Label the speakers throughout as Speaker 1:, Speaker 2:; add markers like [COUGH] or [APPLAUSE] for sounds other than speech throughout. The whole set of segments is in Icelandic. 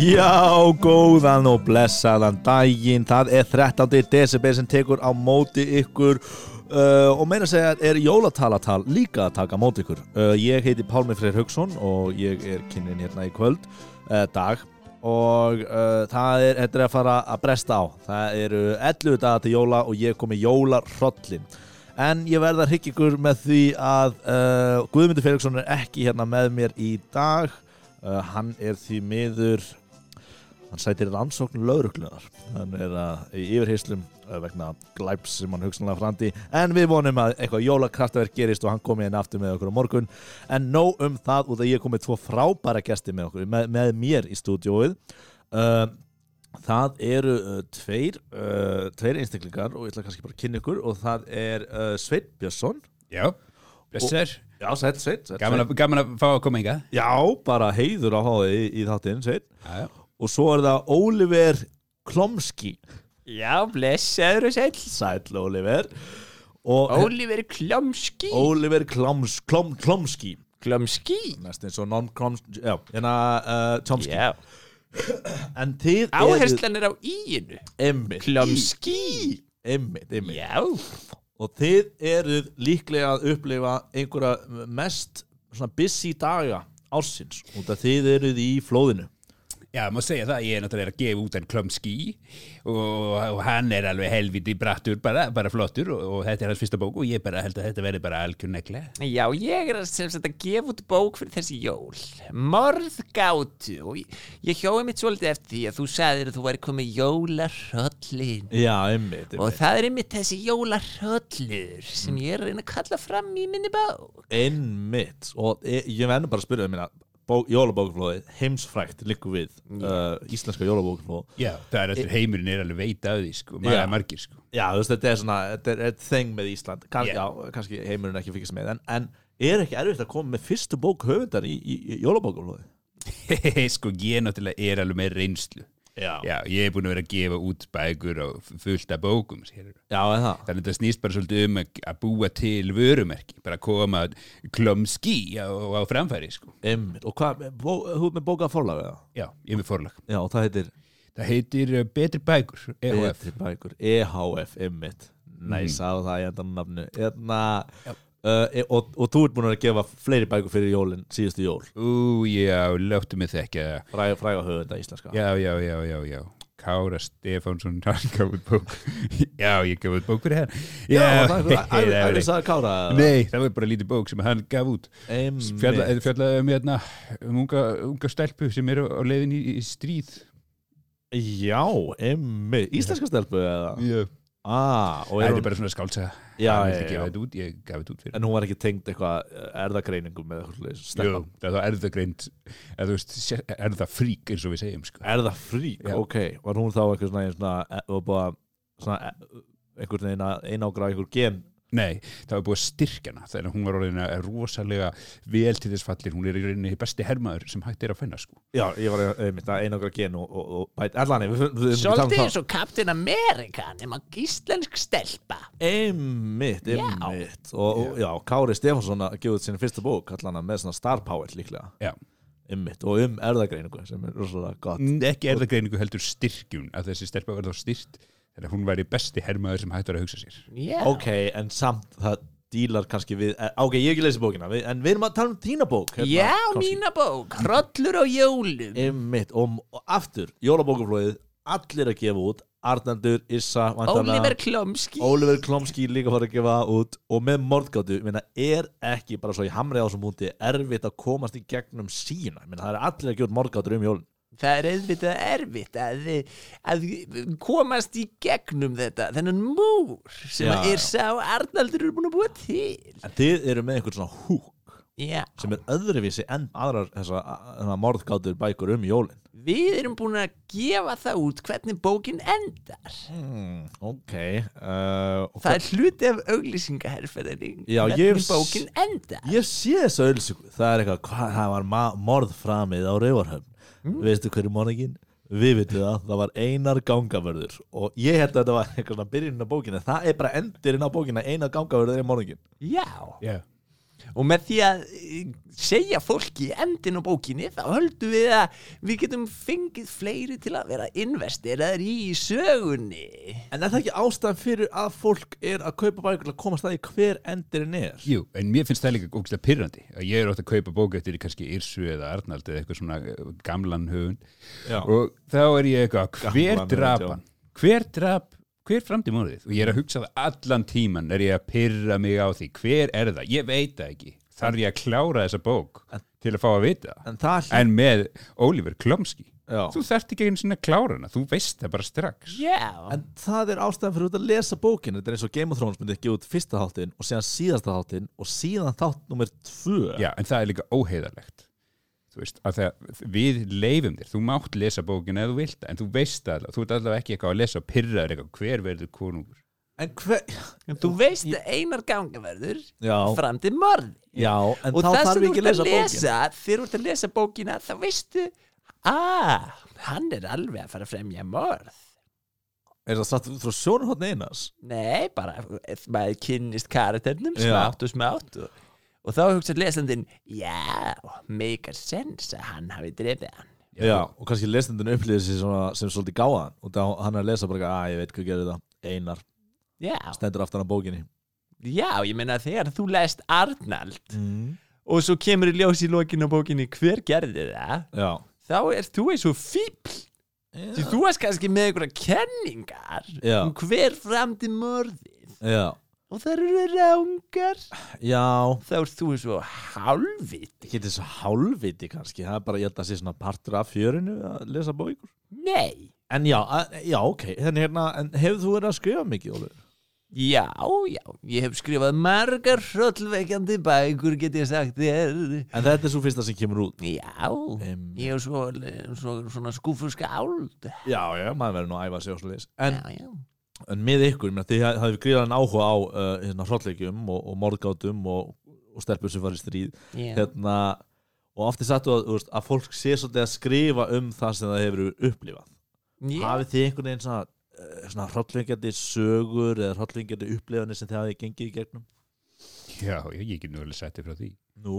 Speaker 1: Já, góðan og blessaðan daginn, það er 13. desember sem tekur á móti ykkur uh, og meira að segja er jólatalatal líka að taka á móti ykkur. Uh, ég heiti Pálmi Freyr Haugsson og ég er kynnin hérna í kvöld, uh, dag og uh, það er, þetta er að fara að bresta á. Það eru 11 dagar til jóla og ég kom með jólarrollin. En ég verða að hryggja ykkur með því að uh, Guðmundur Felixson er ekki hérna með mér í dag. Uh, hann er því miður hann sætir rannsókn lauruglunar hann er að í yfirheyslum uh, vegna glæps sem hann hugsanlega frandi en við vonum að eitthvað jólakraftverk gerist og hann komi inn aftur með okkur á morgun en nóg um það út að ég komið tvo frábæra gesti með okkur, með, með mér í stúdióið uh, það eru uh, tveir uh, tveir einstaklingar og ég ætla kannski bara að kynna ykkur og það er uh, Sveit Björnsson
Speaker 2: Já, blessar
Speaker 1: já, Sveit, Sveit, Sveit,
Speaker 2: gaman,
Speaker 1: Sveit.
Speaker 2: að- gaman að fá að koma ynga
Speaker 1: já, bara heiður á hóði í, í þáttinn Sveit
Speaker 2: Já, já
Speaker 1: og svo er það Oliver Klomski
Speaker 3: Já, blessaður og sæll
Speaker 1: Sæll Oliver og
Speaker 3: Oliver Klomski
Speaker 1: Oliver Kloms, Klom, Klomski
Speaker 3: Klomski
Speaker 1: næst eins og non-Klomski já, hérna uh, Klomski
Speaker 3: Já,
Speaker 1: en þið
Speaker 3: áherslan er á íinu
Speaker 1: einmitt,
Speaker 3: Klomski
Speaker 1: einmitt, einmitt
Speaker 3: Já,
Speaker 1: og þið eruð líklega að upplifa einhverja mest svona busy daga ársins út að þið eruð í flóðinu
Speaker 2: Já, má segja það, ég er náttúrulega að gefa út en klömski og, og hann er alveg helviti brattur bara, bara flottur og, og þetta er hans fyrsta bók og ég bara held að þetta verði bara algjör negla
Speaker 3: já, ég er sem sagt að gefa út bók fyrir þessi jól Morðgátu og ég, ég hjóði mitt svolítið eftir því að þú sagðir að þú væri komið jólarhöllin
Speaker 1: já, einmitt,
Speaker 3: Og
Speaker 1: einmitt.
Speaker 3: það er einmitt þessi jólarhöllur sem ég er að reyna að kalla fram í minni bók
Speaker 1: einmitt. og e, ég verður bara að spyrja það minna jólabókflóði, heimsfrækt líku við uh, íslenska jólabókflóð
Speaker 2: Já, það er eftir heimurinn er alveg veit af því sko, maður
Speaker 1: Já.
Speaker 2: er margir sko [LAUGHS]
Speaker 1: Já, þú veist, þetta er svona, þetta er, er þeng með Ísland Kann,
Speaker 2: Yeah.
Speaker 1: Já, kannski heimurinn ekki fyrkist með en, en er ekki erfitt að koma með fyrstu bók höfundar í, í, í jólabókumlóði?
Speaker 2: Sko, ég náttúrulega er alveg með reynslu
Speaker 1: Já Já,
Speaker 2: Já, ég er búin að vera að gefa út bækur og fullt af bókum sér.
Speaker 1: er það?
Speaker 2: Þannig að þetta snýst bara svolítið um að að búa til vörumerki, bara að koma klömski á, á framfæri sko
Speaker 1: Einmitt, og hvað, bó, þú ert með bókað forlag eða?
Speaker 2: Já, ég er með forlag
Speaker 1: Já, og það heitir
Speaker 2: Það heitir uh, Betri Bækur, EHF.
Speaker 1: Betri bækur, EHF, einmitt Næs, E mm. á það ég enda nafnu Eðna,
Speaker 2: Já.
Speaker 1: uh, e, og, og þú ert búin að gefa fleiri bækur fyrir jólin síðustu jól
Speaker 2: Ú, já, láttu mig þekka.
Speaker 1: Fræga, fræga höfunda íslenska
Speaker 2: Já, já, já, já, já. Kára Stefánsson, [LAUGHS] hann gaf út bók. já, ég gaf út bók fyrir hann.
Speaker 1: Já, [LAUGHS] það er
Speaker 2: [LAUGHS] það
Speaker 1: það
Speaker 2: var
Speaker 1: Æfis
Speaker 2: ekki.
Speaker 1: að kára
Speaker 2: Nei, það var bara lítið bók sem hann gaf út.
Speaker 1: Einmitt,
Speaker 2: Fjallaði fjalla um, hérna, um unga, unga stelpu sem eru á leiðin í, í stríð.
Speaker 1: já, einmitt Íslenska stelpu eða?
Speaker 2: Já.
Speaker 1: Ah, og
Speaker 2: Það
Speaker 1: er
Speaker 2: er
Speaker 1: hún,
Speaker 2: bara svona skálsaga.
Speaker 1: já,
Speaker 2: Hann
Speaker 1: já, já,
Speaker 2: vildi gefa þetta út, Ég gaf þetta út fyrir.
Speaker 1: en hún var ekki tengd eitthvað erðagreiningum eða
Speaker 2: Jú,
Speaker 1: eitthvað
Speaker 2: það er það greint, eða þú veist, sé- er það frík eins og við segjum, sko.
Speaker 1: erðafrík,
Speaker 2: Já.
Speaker 1: ok var hún þá eitthvað svona, svona, e- og búa, svona e- einhvern veginn að einágra einhver gen
Speaker 2: Nei, það var búið að styrkja hana þannig að hún var orðin að rosalega vel til þess fallin, hún er í rauninni besti hermaður sem hægt er að finna sko.
Speaker 1: já, ég var einmitt að einágra gen og, og, og bæt, allan, við, við, við
Speaker 3: Svolítið
Speaker 1: um
Speaker 3: eins og Captain America nema íslensk stelpa
Speaker 1: það einmitt,
Speaker 3: Já.
Speaker 1: einmitt og, og já, Kári Stefánsson að gefa út sinni fyrsta bók allan hann með svona star power líklega
Speaker 2: Já.
Speaker 1: einmitt, og um erðagreiningu sem er rosalega gott
Speaker 2: Mm, Ekki er það greiningu heldur styrkjun að þessi stelpa verða á styrt þannig að hún væri besti hermaður sem hægt var að hugsa sér.
Speaker 3: Já,
Speaker 1: ok, en samt það dílar kannski við, eh, ok, ég hef ekki lesið bókina við, en við erum að tala um þína bók hérna,
Speaker 3: já
Speaker 1: Kási.
Speaker 3: mína bók Hrollur á jólum
Speaker 1: Einmitt, og, og aftur, jólabókaflóðið allir að gefa út, Arnaldur Issa, væntanlega,
Speaker 3: Oliver Klomski
Speaker 1: Oliver Klomski líka fara að gefa út og með morðgáttu, ég meina, er ekki bara svo í hamrið á þessum múti, erfitt að komast í gegnum sína, ég meina, það er allir að gefa út morðgáttur um jólun,
Speaker 3: Það er auðvitað erfitt að, að komast í gegnum þetta þennan múr sem
Speaker 1: Já, já.
Speaker 3: er sá Arnaldur er búin að búa til
Speaker 1: en þið eru með einhvern svona húk
Speaker 3: Já,
Speaker 1: sem er öðruvísi enn aðrar þessa, þessa morðgáttur bækur um jólun
Speaker 3: Við erum búin að gefa það út hvernig bókin endar.
Speaker 1: Hmm, ok uh, og
Speaker 3: Mm. Það er hluti af auglýsingaherferðinni.
Speaker 1: Já,
Speaker 3: hvernig
Speaker 1: ég-
Speaker 3: bókin endar.
Speaker 1: Ég sé þessu ölsíku Það er eitthvað, hvað, það var ma- morð framið á Rauvarhöfn Veistu hverju morðingin? Við vitum það, það var einar gangavörður Og ég held að þetta var eitthvað svona byrjunin á bókinu Það er bara endirinn á bókinu Einar gangavörður er morðingin
Speaker 3: Já.
Speaker 2: yeah.
Speaker 3: og með því að eh, segja fólki endin á bókinni þá höldum við að við getum fengið fleiri til að vera investiraðir í sögunni
Speaker 1: En er það ekki ástæðan fyrir að fólk er að kaupa bækur til að komast að því hver endurinn er?
Speaker 2: Jú, en mér finnst það líka ógæslega pyrrandi að ég er ótt að kaupa bók eftir kannski Irsu eða Arnald eða eitthvað svona eh, gamlan höfund
Speaker 1: Já.
Speaker 2: og þá er ég eitthvað, hver
Speaker 1: Gamlan höfund,
Speaker 2: drap
Speaker 1: já.
Speaker 2: hann? Hver drap, hver framdi morðið? Og ég er að hugsa það allan tíman er ég að pyrra mig á því, hver er það? Ég veit það ekki, þarf ég að klára þessa bók til að fá að vita það?
Speaker 1: En það
Speaker 2: En með Oliver Klomski
Speaker 1: Já.
Speaker 2: þú þarft ekki einu sinni að klára hana, þú veist það bara strax
Speaker 3: Já,
Speaker 1: En það er ástæðan fyrir út að lesa bókinu Þetta er eins og Game of Thrones myndi ekki út fyrsta þáttinn og síðan síðasta þáttinn og síðan þátt nummer tvö
Speaker 2: Já, en það er líka óheiðarlegt Þú veist, að það, við leifum þér þú mátt lesa bókina eða þú vilt það, en þú veist allavega, þú ert allavega ekki eitthvað að lesa og pyrra þér eitthvað, hver verður konungur
Speaker 1: En hver
Speaker 3: þú veist að einar gangaverður
Speaker 1: Já.
Speaker 3: fram til morð
Speaker 1: Já, en
Speaker 3: og
Speaker 1: þá
Speaker 3: það
Speaker 1: þarf ég
Speaker 3: sem þú
Speaker 1: ekki
Speaker 3: ert
Speaker 1: að lesa bókinu
Speaker 3: að lesa þegar þú ert að lesa bókina þá veistu að hann er alveg að fara að fremja morð
Speaker 1: Er það satt frá sjónarhóttni einas?
Speaker 3: Nei, bara ef maður kynnist karakternum
Speaker 1: Já.
Speaker 3: smátt og smátt og, og þá hugsað lesandinn Já, make a sense að hann hafi drefið hann
Speaker 1: Já, og kannski lesnendun upplýðir sig svona, sem svolítið gáðan og þá hann er að lesa bara að ég veit hvað gerir það Einar,
Speaker 3: Já,
Speaker 1: stendur aftan á bókinni
Speaker 3: já ég meina þegar þú lest Arnald
Speaker 1: mm.
Speaker 3: og svo kemur í ljós í lokin á bókinni hver gerði það
Speaker 1: Já
Speaker 3: þá ert þú eins og fíbl því þú erst kannski með einhverja kenningar
Speaker 1: Já.
Speaker 3: um hver framdi morðið
Speaker 1: Já,
Speaker 3: og það eru rángar
Speaker 1: já
Speaker 3: þá ert þú eins og hálfviti
Speaker 1: Ekki þessu hálfviti kannski Það er bara, ég held að sé svona partur af fjörinu að lesa bókur
Speaker 3: Nei
Speaker 1: En já, að, já, ok En, hérna, en hefur þú verið að skrifa mikið, Ólfur?
Speaker 3: Já, já, ég hef skrifað margar hrollvekjandi bækur get ég sagt þér
Speaker 1: En þetta er svo fyrsta sem kemur út
Speaker 3: Já,
Speaker 1: Em.
Speaker 3: ég hef svo, svo, svona skúfuskáld Já,
Speaker 1: Já, já, maður verður nú að æfa sig og sliðis en,
Speaker 3: já,
Speaker 1: en með ykkur, menn, þið hafið gríðan áhuga á uh, hérna, hrottleikjum og, og morgátum og, og stelpur sem farið stríð
Speaker 3: já.
Speaker 1: hérna, og aftur sattu að, þú veist, að fólk sé svolítið að skrifa um það sem það hefur upplifað
Speaker 3: Ég-
Speaker 1: Hafið þið einhvern veginn svona, eh, svona hrottlengjandi sögur eða hrottlengjandi upplifanir sem þið hafið gengið í gegnum?
Speaker 2: Já, ég, ég get nú alveg sætti frá því
Speaker 1: Nú?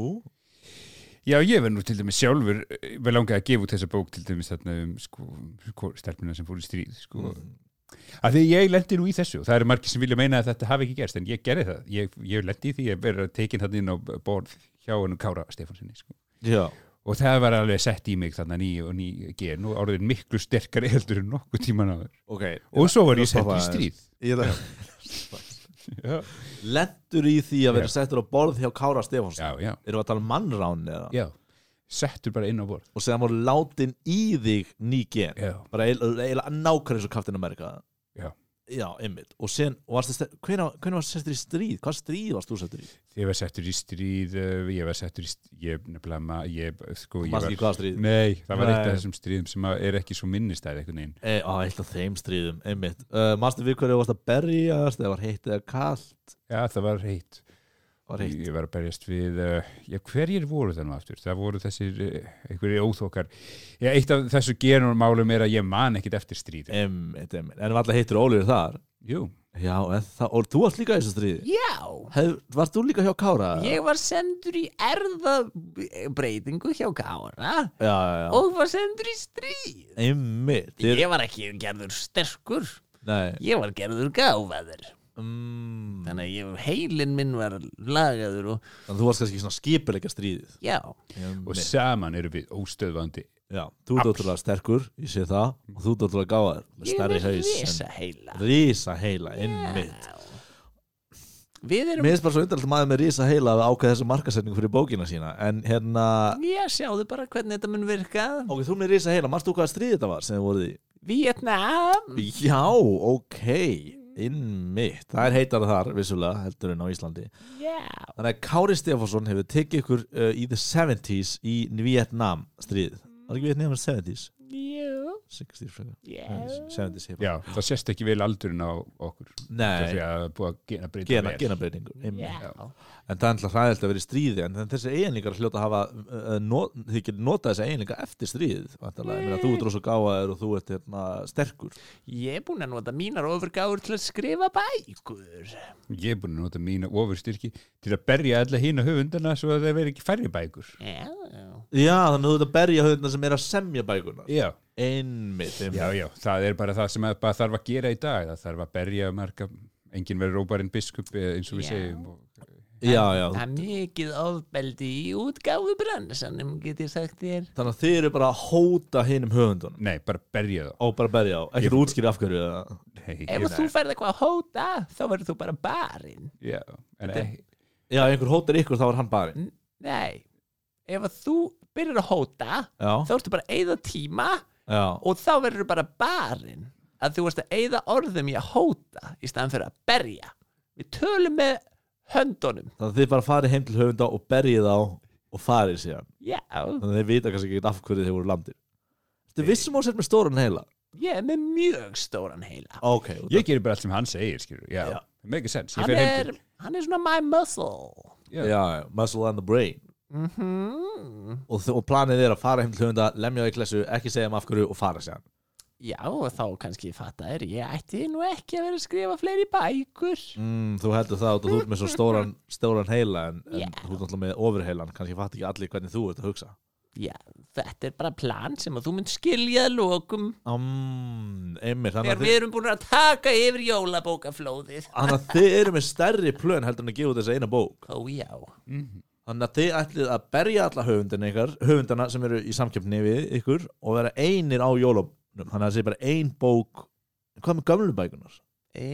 Speaker 2: Já, ég verð nú til dæmis sjálfur eh, vel langað að gefa út þessa bók til dæmis þarna um sko, sko, stelpuna sem fór í stríð sko. að því ég lendi nú í þessu og það eru margir sem vilja meina að þetta hafi ekki gerst en ég gerði það, ég, ég lendi í því að vera tekin þarna inn á borð hjá hann Kára Stefansinni sko.
Speaker 1: Já,
Speaker 2: og það var alveg sett í mig þannig ný og ný gen og orðin miklu sterkari [LAUGHS] heldur en nokkuð tíman áður
Speaker 1: ok
Speaker 2: og svo var
Speaker 1: Nú
Speaker 2: ég sett
Speaker 1: stoppa
Speaker 2: í
Speaker 1: aðeins.
Speaker 2: stríð
Speaker 1: Ég það
Speaker 2: já,
Speaker 1: Lendur í því að vera settur á borð hjá Kára Stefánsson
Speaker 2: já, já,
Speaker 1: Erum við að tala um mannrán eða?
Speaker 2: já. settur bara inn á borð
Speaker 1: Og segðan voru látin í þig ný gen
Speaker 2: já,
Speaker 1: Bara eiginlega nákvæmlega eins og Captain America
Speaker 2: Já.
Speaker 1: Já, einmitt Og sen, og varstu, ste- hvenær hvenær varstu settur í stríð? Hvað stríð varst þú settur í?
Speaker 2: ég var settur í stríð uh, ég var settur í stríð ég, nefnilega, ma- ég, sko, ég
Speaker 1: Manstu
Speaker 2: var
Speaker 1: ekki hvaða stríð?
Speaker 2: nei, það var
Speaker 1: Nei.
Speaker 2: eitt af þessum stríðum sem að er ekki svo minnistæð einhvern veginn
Speaker 1: E, á, eitt af þeim stríðum, einmitt uh, Manstu við hverju varst að berjast? Eða var heitt eða kallt?
Speaker 2: já, það var heitt
Speaker 1: Var heitt
Speaker 2: Ég var að berjast við, uh, já, hverjir voru það nú aftur? Það voru þessir, uh, einhverjir óþokkar. Já, eitt af þessu genurmálum er að ég man ekkit eftir
Speaker 1: Eh,
Speaker 2: stríð.
Speaker 1: Einmitt, einmitt En var alltaf heittur ólíður þar?
Speaker 2: Jú,
Speaker 1: Já, en það, og þú varst líka í þessu stríði?
Speaker 3: já.
Speaker 1: Hef, varst þú líka hjá Kára? eða?
Speaker 3: ég var sendur í erðabreitingu hjá Kára
Speaker 1: Já, já, já
Speaker 3: og var sendur í stríð
Speaker 1: Einmitt Þið-
Speaker 3: Ég var ekki gerður sterkur,
Speaker 1: Nei
Speaker 3: ég var gerður gáfaður
Speaker 1: mm,
Speaker 3: Þannig að ég, heilin minn var lagaður og
Speaker 1: Þannig að þú varst kannski svona skipuleika stríðið
Speaker 3: já,
Speaker 2: og saman eru við óstöðvandi.
Speaker 1: Já, þú ert ótrúlega sterkur, ég sé það og þú ert ótrúlega gáðar með
Speaker 3: ég
Speaker 1: stærri
Speaker 3: var
Speaker 1: haus
Speaker 3: risa heila.
Speaker 1: en Rísa heila, innmitt
Speaker 3: Við erum
Speaker 1: Mér finnst bara svo undarlegt að maður með rísa heila að ákveða þessa markasetningu fyrir bókina sína en hérna,
Speaker 3: Já, sjáðu bara hvernig þetta mun virka
Speaker 1: ok, þú með rísa heila marst þú hvaða stríð þetta var sem þið voruð í?
Speaker 3: Vietnam
Speaker 1: Já, ok innmitt, það er heitara þar vissulega, heldur en á Íslandi
Speaker 3: Já,
Speaker 1: Þannig að Kári Stefánsson hefur tekið ykkur uh, í the 70s í Vietnam stríð Var ekki Vietnam 70s? 60 frekar
Speaker 3: yeah.
Speaker 1: 70 segir
Speaker 2: Já, það sést ekki vel aldurinn á okkur
Speaker 1: bara.
Speaker 2: Nei. því
Speaker 1: Nei,
Speaker 2: að það er búið að gena breyta
Speaker 1: gena,
Speaker 2: vel.
Speaker 1: genabreitingur einmitt.
Speaker 3: Já.
Speaker 1: en það er alltaf hræðilt að vera í stríði en þessi eiginleikar hljóta að hafa uh, not, þið getur notað þessi eiginleika eftir stríð væntanlega. Ég meina, þú ert rosa gáðaður og þú ert hérna, sterkur
Speaker 3: Ég er búin að nota mínar ofurgáður til að skrifa bækur
Speaker 2: Ég er búin að nota mína ofurstyrki til að berja alla hína höfundana svo að það veri ekki færri bækur
Speaker 3: Já
Speaker 1: Já, þannig að þú ert að berja höfðina sem er að semja bækunar
Speaker 2: Já,
Speaker 1: Einmitt,
Speaker 2: já,
Speaker 1: einmitt.
Speaker 2: já, það er bara það sem að bara þarf að gera í dag það þarf að berja um marga enginn verður róparinn biskup eh, eins og við
Speaker 3: Já.
Speaker 2: segjum og,
Speaker 1: já, já.
Speaker 3: Það er mikið ofbeldi í útgáfu bransanum get ég sagt þér
Speaker 1: Þannig að þið eru bara að hóta hinum höfundunum
Speaker 2: Nei, bara berja þá
Speaker 1: og bara að berja á, ekkert
Speaker 2: Ég-
Speaker 1: útskýri af hverju eða-
Speaker 2: Nei,
Speaker 3: Ef
Speaker 2: ég-
Speaker 3: þú ferð eitthvað að hóta þá verður þú bara barinn
Speaker 2: Já, en eh, ekki
Speaker 1: Já, ef einhver hótar ykkur þá er hann barinn
Speaker 3: Nei Ef að þú byrjar að hóta þá
Speaker 1: Já,
Speaker 3: ertu bara að eyða tíma
Speaker 1: já,
Speaker 3: og þá verður bara barinn að þú varst að eyða orðum í að hóta í staðan fyrir að berja Við tölum með höndunum
Speaker 1: þannig að þið bara farið heim til höfunda og berjið á og farið síðan
Speaker 3: Já,
Speaker 1: þannig að þeir vita kannski ekki af hverju þeir voru landir Þetta vissum á sér með stóran heila
Speaker 3: ég er með mjög stóran heila
Speaker 1: Ok, út
Speaker 2: Ég gerir bara allt sem hann segir, skilur Já,
Speaker 1: Já.
Speaker 2: make a sense Ég
Speaker 3: hann
Speaker 2: fer heim
Speaker 3: er, hann er svona my muscle
Speaker 1: af- já, já, muscle and the brain
Speaker 3: mm Mhm.
Speaker 1: og, þ- og planið er að fara heim til höfunda, lemja í klessu, ekki segja um af hverju og fara síðan
Speaker 3: Já, og þá kannski fatta þér ég ætti nú ekki að vera að skrifa fleiri bækur
Speaker 1: mm, Þú heldur það út og þú ert [LAUGHS] með svo stóran, stóran heila en,
Speaker 3: Já.
Speaker 1: en þú ert náttúrulega með ofurheilan kannski fatt ekki allir hvernig þú ert að hugsa
Speaker 3: Já, þetta er bara plan sem að þú mynd skilja að lokum
Speaker 1: um, Einmitt, þannig
Speaker 3: þegar
Speaker 1: að
Speaker 3: við
Speaker 1: þið-
Speaker 3: erum búin að taka yfir jólabókaflóðið
Speaker 1: þannig að þið eru með stærri plön heldur en að gefa út þessa eina bók
Speaker 3: Ó já,
Speaker 2: Mhm.
Speaker 1: Þannig að þið ætlið að berja alla höfundina ykkar, höfundana sem eru í samkeppni við ykkur og vera einir á jólum þannig að það sé bara ein bók hvað með gömlu bækunar?
Speaker 3: e,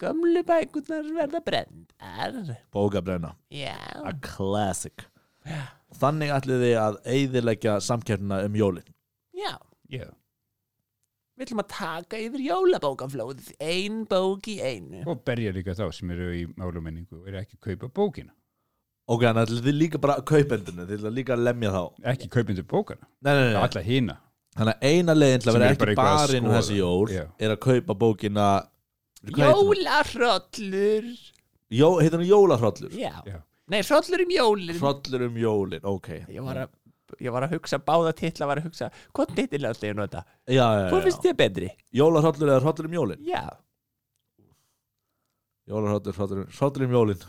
Speaker 3: gömlu bækurnar verða brendar
Speaker 1: Bókabrenna,
Speaker 3: Já,
Speaker 1: a classic Þannig ætlið þið að eyðileggja samkeppnina um jólin
Speaker 3: já
Speaker 2: Já,
Speaker 3: Við ætlum að taka yfir jólabókaflóðið ein bók í einu
Speaker 2: og berja líka þá sem eru í málumenningu og eru ekki að kaupa bókina
Speaker 1: Ok, þannig ætlið þið líka bara kaupendinu þið ætlið líka að lemja þá
Speaker 2: ekki kaupendur bókana,
Speaker 1: Nei, nei, nei,
Speaker 2: alla hina
Speaker 1: þannig að eina leiðin til að vera
Speaker 2: Sem er bara
Speaker 1: ekki
Speaker 2: eitthvað að
Speaker 1: barinn um
Speaker 2: skoða.
Speaker 1: þessi jól
Speaker 2: Já.
Speaker 1: er að kaupa bókina hvað heitir hún?
Speaker 3: Jólarhrollur
Speaker 1: Jó, heitir hann jólahrollur
Speaker 3: Já,
Speaker 2: Já.
Speaker 3: nei, hrollur um jólin
Speaker 1: Hrollur um jólin, ok Já,
Speaker 3: ég var, að, ég var að hugsa, báða titla var að hugsa Hvort titil ætla ég að nota?
Speaker 1: já,
Speaker 3: Hvor
Speaker 1: já,
Speaker 3: finnst þér betri?
Speaker 1: jólahrollur eða hrollur um jólin
Speaker 3: Já,
Speaker 1: Jólahrollur, hrollur, um- hrollur um jólin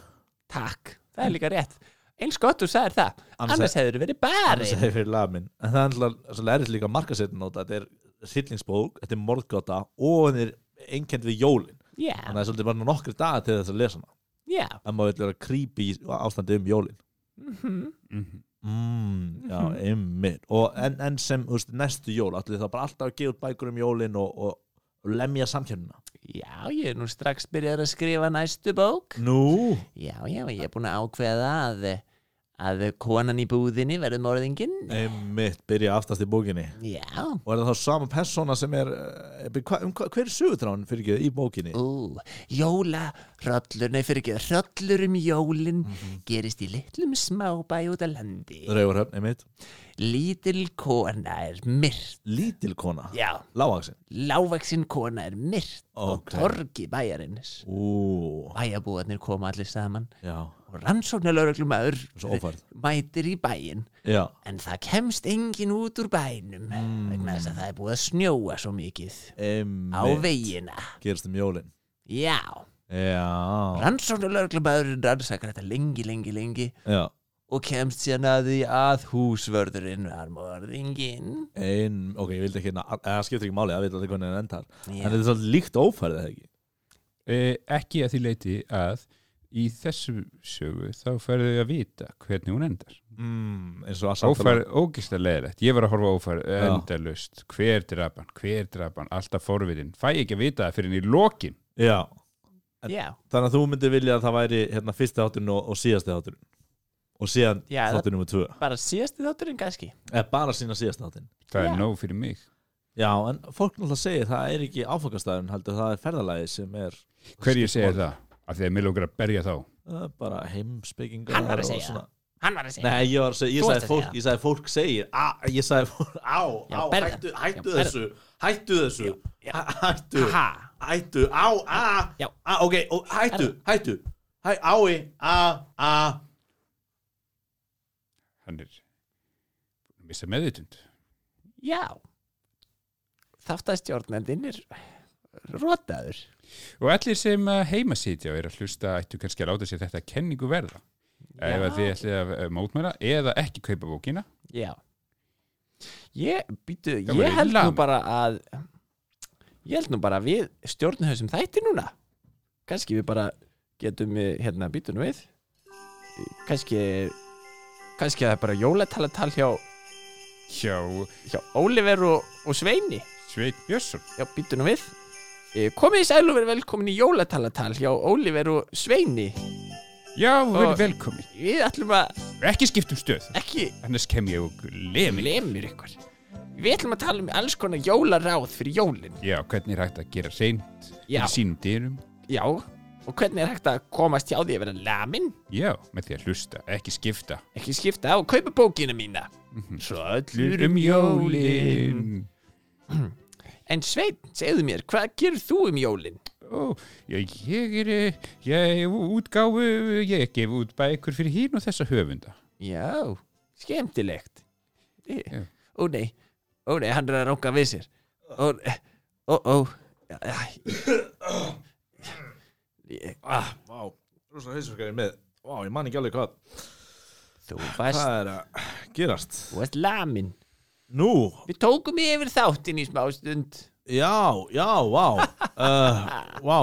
Speaker 3: takk, það er líka rétt Eins gott þú sagðir það,
Speaker 1: Annars-
Speaker 3: annars, hefur verið
Speaker 1: Annars
Speaker 3: barinn
Speaker 1: hefði fyrir lamin En það er alltaf svo erist líka markasettin nota Þetta er hryllingsbók, þetta er morðgóta og hann er einkend við jólin
Speaker 3: Já,
Speaker 1: Þannig að það er svolítið bara nokkri dagar til þess að lesa hana
Speaker 3: já
Speaker 1: En maður vil vera creepy í ástandi um jólin
Speaker 3: Mhm.
Speaker 2: Mhm.
Speaker 1: mm, Já, ymmir en, en sem þú veist, næstu jól allir það bara alltaf að gefa út bækur um jólin og, og, og lemja samkjörnina
Speaker 3: Já, ég er nú strax byrjar að skrifa næstu bók
Speaker 1: Nú,
Speaker 3: Já, já, ég er búin að ákveða að, að konan í búðinni verður morðinginn
Speaker 1: ymmir, byrja aftast í bókinni
Speaker 3: Já,
Speaker 1: Og er það þá sama persóna sem er eh, hva, um, hva, Hver er sögutrán fyrir ekki í bókinni?
Speaker 3: ú, jóla, hrollur, nei fyrir ekki, hrollur um jólin
Speaker 1: Mhm.
Speaker 3: gerist í litlum smábæ út á landi
Speaker 1: Rauvarhöfn, ymmir
Speaker 3: Lítil kona er myrt
Speaker 1: Lítil kona,
Speaker 3: Já,
Speaker 1: lágaksin
Speaker 3: lávaxin kona er myrt
Speaker 1: Ok.
Speaker 3: á torgi bæjarins
Speaker 1: Ú,
Speaker 3: Bæjabúarnir koma allir saman
Speaker 1: já,
Speaker 3: og rannsóknarlaureglumæður
Speaker 1: Svo ófærð.
Speaker 3: mætir í bæinn
Speaker 1: já,
Speaker 3: En það kemst engin út úr bænum
Speaker 1: Mm.
Speaker 3: vegna þess að það er búið að snjóa svo mikið á
Speaker 1: emmi,
Speaker 3: veginna.
Speaker 1: gerist um jólin
Speaker 3: Já,
Speaker 1: Já,
Speaker 3: rannsóknarlörglumæðurinn rannsakar þetta lengi, lengi, lengi
Speaker 1: já,
Speaker 3: og kemst síðan að því að húsvörðurinn var morðinginn.
Speaker 1: ein, ok, ég vildi ekki, na- eh, það skiptir ekki máli, það veit allir hvernig það endar En
Speaker 3: Já,
Speaker 1: þetta er svolítið líkt ófærið, eða ekki?
Speaker 2: eh, ekki að því leiti að í þessu sögu þá færðu þau að vita hvernig hún endar
Speaker 1: Mm, eins og að
Speaker 2: ófærð, ógistar leðilegt, ég var að horfa á ófærð endalust, hver drapan, hver drapan alltaf forvitin, fæ ekki að vita það fyrir henni í lokin
Speaker 1: Já,
Speaker 3: já,
Speaker 1: þannig að þú myndir vilja að það væri hérna fyrsti þátturinn og, og síðasti þátturinn Og síðan
Speaker 3: Já, það-
Speaker 1: þátturinn nummer tvö
Speaker 3: bara síðasti þátturinn kannski.
Speaker 1: Eða bara sína síðasti þátturinn
Speaker 2: það
Speaker 3: Já.
Speaker 2: er nóg fyrir mig
Speaker 1: Já, en fólk náttúrulega segir það er ekki áfangastæðurinn heldur, það er ferðalagi sem er
Speaker 2: hverju segir það, af því að mér lókar að berja þá
Speaker 1: Eh, bara heimspekingar
Speaker 3: Hann var
Speaker 1: og
Speaker 3: að segja
Speaker 1: svona-
Speaker 3: Hann var að segja
Speaker 1: Nei, ég var að segja, ég
Speaker 3: Þú
Speaker 1: sagði
Speaker 3: varst að
Speaker 1: fólk,
Speaker 3: segja.
Speaker 1: ég sagði fólk segir a, Ég sagði, fólk- á,
Speaker 3: Já,
Speaker 1: á,
Speaker 3: berðu.
Speaker 1: hættu, hættu
Speaker 3: Já, berðu.
Speaker 1: þessu Hættu þessu
Speaker 3: já.
Speaker 1: Hæ- Hættu,
Speaker 3: Ha.
Speaker 1: hættu, á, a
Speaker 3: Já.
Speaker 1: a, Ok, og hættu,
Speaker 3: Berðu.
Speaker 1: hættu Hæ, ái, a, a
Speaker 2: Hann er missa meðutund.
Speaker 3: Já Þáttastjórnendinn er Rótaður
Speaker 2: Og allir sem eh, heima sitja og er að hlusta ættu kannski að láta sér þetta kenningu verða. Ef að þið ætlið að eh, mótmæla eða ekki kaupa bókina.
Speaker 3: Já Ég, býtu,
Speaker 2: Það
Speaker 3: ég
Speaker 2: voru
Speaker 3: held
Speaker 2: illa.
Speaker 3: nú bara að Ég held nú bara að við stjórnum þessum þætti núna Kannski við bara getum við, hérna býtunum við Kannski Kannski að það er bara jólatalatal hjá,
Speaker 2: Hjá
Speaker 3: hjá Oliver og, og Sveini
Speaker 2: Sveinn Björnsson.
Speaker 3: Já, býtu nú við Eh, Komið í sæl og verið velkomin í jólatalatal hjá Oliver og Sveini
Speaker 2: Já, vel,
Speaker 3: Og-
Speaker 2: velkomin.
Speaker 3: Við ætlum að
Speaker 2: Ekki skiptum stöð.
Speaker 3: ekki
Speaker 2: Annars kem ég og lemi.
Speaker 3: lemur ykkur Við ætlum að tala um alls konar jólaráð fyrir jólin
Speaker 2: Já, hvernig er hægt að gera seint
Speaker 3: Já.
Speaker 2: í sínum dyrum?
Speaker 3: Já, og hvernig er hægt að komast hjá því að vera lamin,
Speaker 2: Já, með því að hlusta, ekki skipta.
Speaker 3: ekki skipta og kaupa bókina mína. Svo
Speaker 2: Allur um jólin.
Speaker 3: En Sveinn, segðu mér, hvað gerir þú um jólin?
Speaker 2: Ó, ég, ég er, eh, ég er útgáfu, ég gef út bækur fyrir hín og þessa höfunda.
Speaker 3: Já, skemmtilegt. Í-
Speaker 2: Já.
Speaker 3: Ó nei, ó nei, hann er að ránka við sér. Ó, eh, ó, ó. Æ, æ.
Speaker 1: ah, Vá, rosa heisverkar ég með Vá, ég man ekki alveg hvað
Speaker 3: Þú varst,
Speaker 1: Hvað er að gerast?
Speaker 3: þú varst lamin.
Speaker 1: Nú,
Speaker 3: Við tókum yfir þáttin í smástund.
Speaker 1: já, já, vá
Speaker 3: [LAUGHS]
Speaker 1: uh, Vá,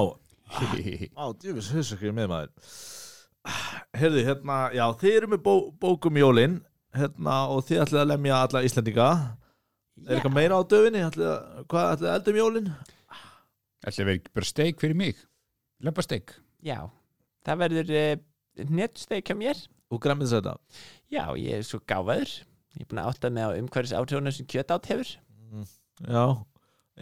Speaker 1: Á, djúfis, hausakrið með maður Herði, hérna, já, þið eru með bó, bókum jólin hérna, og þið ætlið að lemja alla Íslendinga Er eitthvað meira á döfinni? Ætlið, að- hvað ætlið að eldum jólin?
Speaker 2: Ætli að vera ekki bara steik fyrir mig. Leppa steik.
Speaker 3: Já, það verður uh, netsteik hjá mér.
Speaker 1: Og græmið þess að þetta
Speaker 3: Já, ég er svo gáfaður. Ég er búin að átta mig á umhverfis átrifunum sem kjöt átt hefur.
Speaker 1: Já,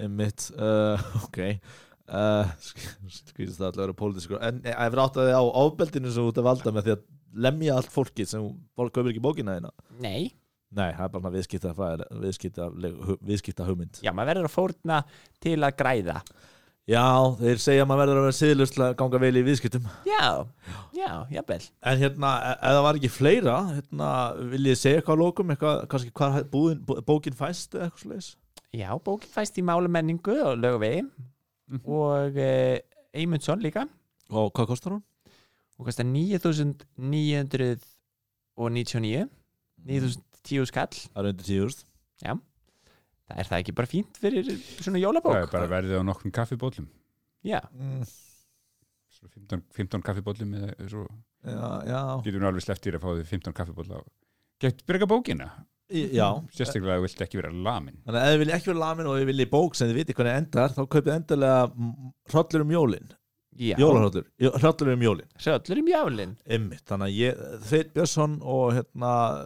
Speaker 1: einmitt uh, [LAUGHS] Ok uh, Skýrst það allir að vera pólitískur En eh, ef rátt að þið á ofbeldinu sem þú ert að valda með því að lemja allt fólki sem fólk kaupir ekki bókina þína
Speaker 3: Nei,
Speaker 1: Nei, það er bara viðskipta, viðskipta, viðskipta hugmynd
Speaker 3: já, maður verður að fórna til að græða.
Speaker 1: Já, þeir segja að maður verður að vera siðlust til að ganga vel í viðskiptum
Speaker 3: Já, já, jafnvel.
Speaker 1: En hérna, e- ef það var ekki fleira hérna, viljið þið segja eitthvað að lókum eitthvað, kannski hvað búðin, bú- bókin fæst eða eitthvað slags
Speaker 3: Já, bókin fæst í málamenningu og lögvegi
Speaker 2: Mhm.
Speaker 3: og uh, Eymundsson líka
Speaker 1: Og hvað kostar hún?
Speaker 3: og kostar 9.999
Speaker 2: Mhm.
Speaker 3: 9.010 skall
Speaker 1: Það er undir tíðurst
Speaker 3: Það er það ekki bara fínt fyrir
Speaker 2: Það
Speaker 3: svona
Speaker 2: er
Speaker 3: jólabók?
Speaker 2: bara verðið á nokkrum kaffibóllum.
Speaker 3: Já,
Speaker 1: mm.
Speaker 2: Svo 15, 15 kaffibóllum eða svo.
Speaker 1: Já, já
Speaker 2: Getur nú alveg sleftir að fá því 15 kaffibólla. Gætt breyka bókina.
Speaker 1: Í, Já,
Speaker 2: Sérstaklega að þú vilt ekki vera lamin.
Speaker 1: þannig að ef þið viljið ekki vera lamin og ef þið viljið bók sem þið vitið hvernig endar þá kaupið endarlega hrollur um jólin
Speaker 3: já.
Speaker 1: Jólahrollur, Jó- hrollur um jólin
Speaker 3: Söllur um jálinn.
Speaker 1: Einmitt, þannig að ég, Þeir Björnsson og hérna eh,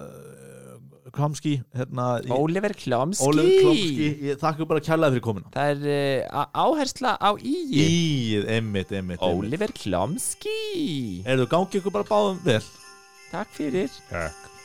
Speaker 1: Kramski, hérna ég-
Speaker 3: Oliver Klomski.
Speaker 1: Ólafur Klomski, ég þakka ykkur bara kærlega fyrir komuna
Speaker 3: Það er uh, áhersla á íi
Speaker 1: Íð, einmitt, einmitt, einmitt.
Speaker 3: Oliver Klomski
Speaker 1: um Er þú gangið ykkur bara báðum vel?
Speaker 3: Takk fyrir
Speaker 2: Takk.